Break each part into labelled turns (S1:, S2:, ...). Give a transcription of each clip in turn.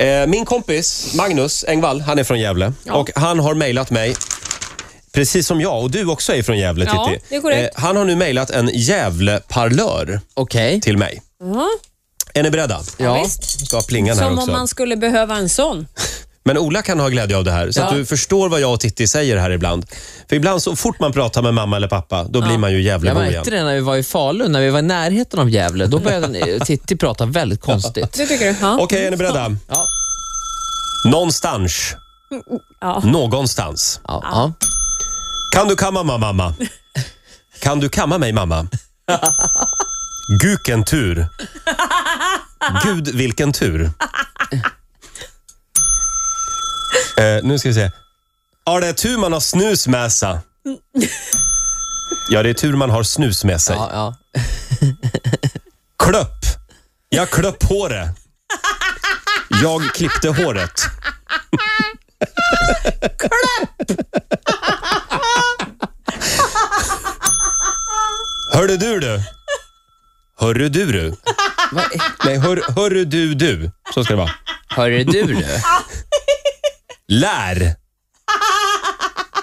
S1: Eh, Min kompis Magnus Engvall, han är från Gävle och han har mejlat mig Precis som jag, och du också är från Gävle
S2: Ja,
S1: Titti.
S2: det är korrekt.
S1: Eh, Han har nu mejlat en Gävleparlör
S3: Okej.
S1: till mig.
S2: Ja,
S1: Är ni beredda?
S3: Ja.
S2: visst.
S1: Ska ha plingan här
S2: Som om
S1: också.
S2: man skulle behöva en sån.
S1: Men Ola kan ha glädje av det här, så att
S3: Ja.
S1: du förstår vad jag och Titti säger här ibland. För ibland så fort man pratar med mamma eller pappa, då blir man ju
S3: Jag
S1: Gävlebo igen.
S3: märkte det när vi var i Falun, när vi var i närheten av Gävle. Då började eh, Titti prata väldigt konstigt.
S2: Det tycker du? Ja.
S1: Okej, är ni beredda?
S3: Ja.
S1: Någonstans.
S2: Ja.
S1: Någonstans.
S3: Ja, ja.
S1: Kan du kamma mig mamma? Kan du kamma mig mamma? Guken tur. Gud vilken tur. Eh, nu ska vi se. Ja, det är tur man har snus med sig. Ja, det är tur man har snus med sig.
S3: ja, ja.
S1: Klöpp. Jag klöpp håret. Jag klippte håret. Hörru du du. Hörru du du.
S3: Va?
S1: Nej, hör, hörru du du. Så ska det vara.
S3: Hörru du nu.
S1: Lär.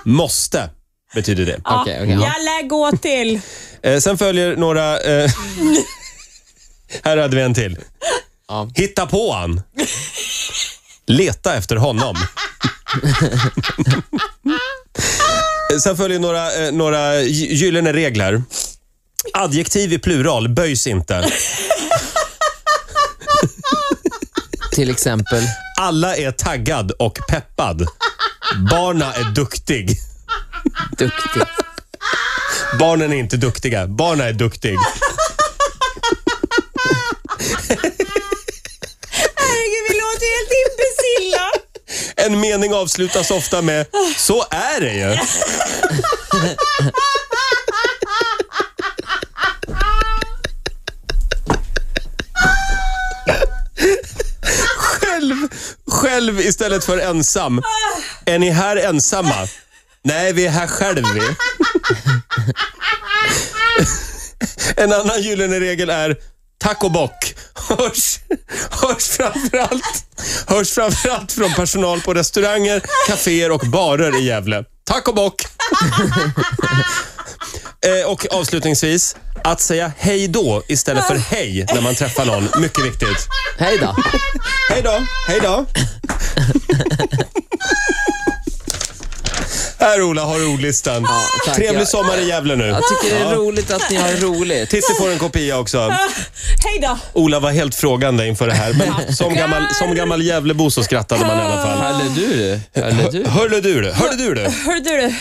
S1: Måste, betyder det.
S3: Okej, okej. ja.
S2: Jag lär gå till.
S1: Eh, sen följer några... Eh, här hade vi en till.
S3: Ja.
S1: Hitta på han. Leta efter honom. Eh, sen följer några, eh, några gy- gyllene regler. Adjektiv i plural böjs inte.
S3: Till exempel.
S1: Alla är taggad och peppad. Barna är duktig.
S3: Duktig.
S1: Barnen är inte duktiga. Barna är duktig.
S2: Herregud, vi låter ju helt imbecilla.
S1: En mening avslutas ofta med “Så är det ju”. Själv, själv istället för ensam. Är ni här ensamma? Nej, vi är här själv vi. En annan gyllene regel är tack och bock. Hörs, hörs, framförallt, hörs framförallt från personal på restauranger, kaféer och barer i Gävle. Tack och bock. Eh, och avslutningsvis, att säga hej då istället för hej när man träffar någon. Mycket viktigt.
S3: Hej då.
S1: Hej då, hej då. Här Ola har du ordlistan.
S3: tack.
S1: Trevlig
S3: Jag-
S1: sommar i Gävle nu.
S3: Jag tycker det är roligt att ni har roligt.
S1: Titti får en kopia också.
S2: Hej då.
S1: Ola var helt frågande inför det här, men som gammal, som gammal Gävlebo så skrattade man i alla fall.
S3: Hörru du. Hörru du.
S1: Hörlu du du, hörlu du du.
S2: Hörru du,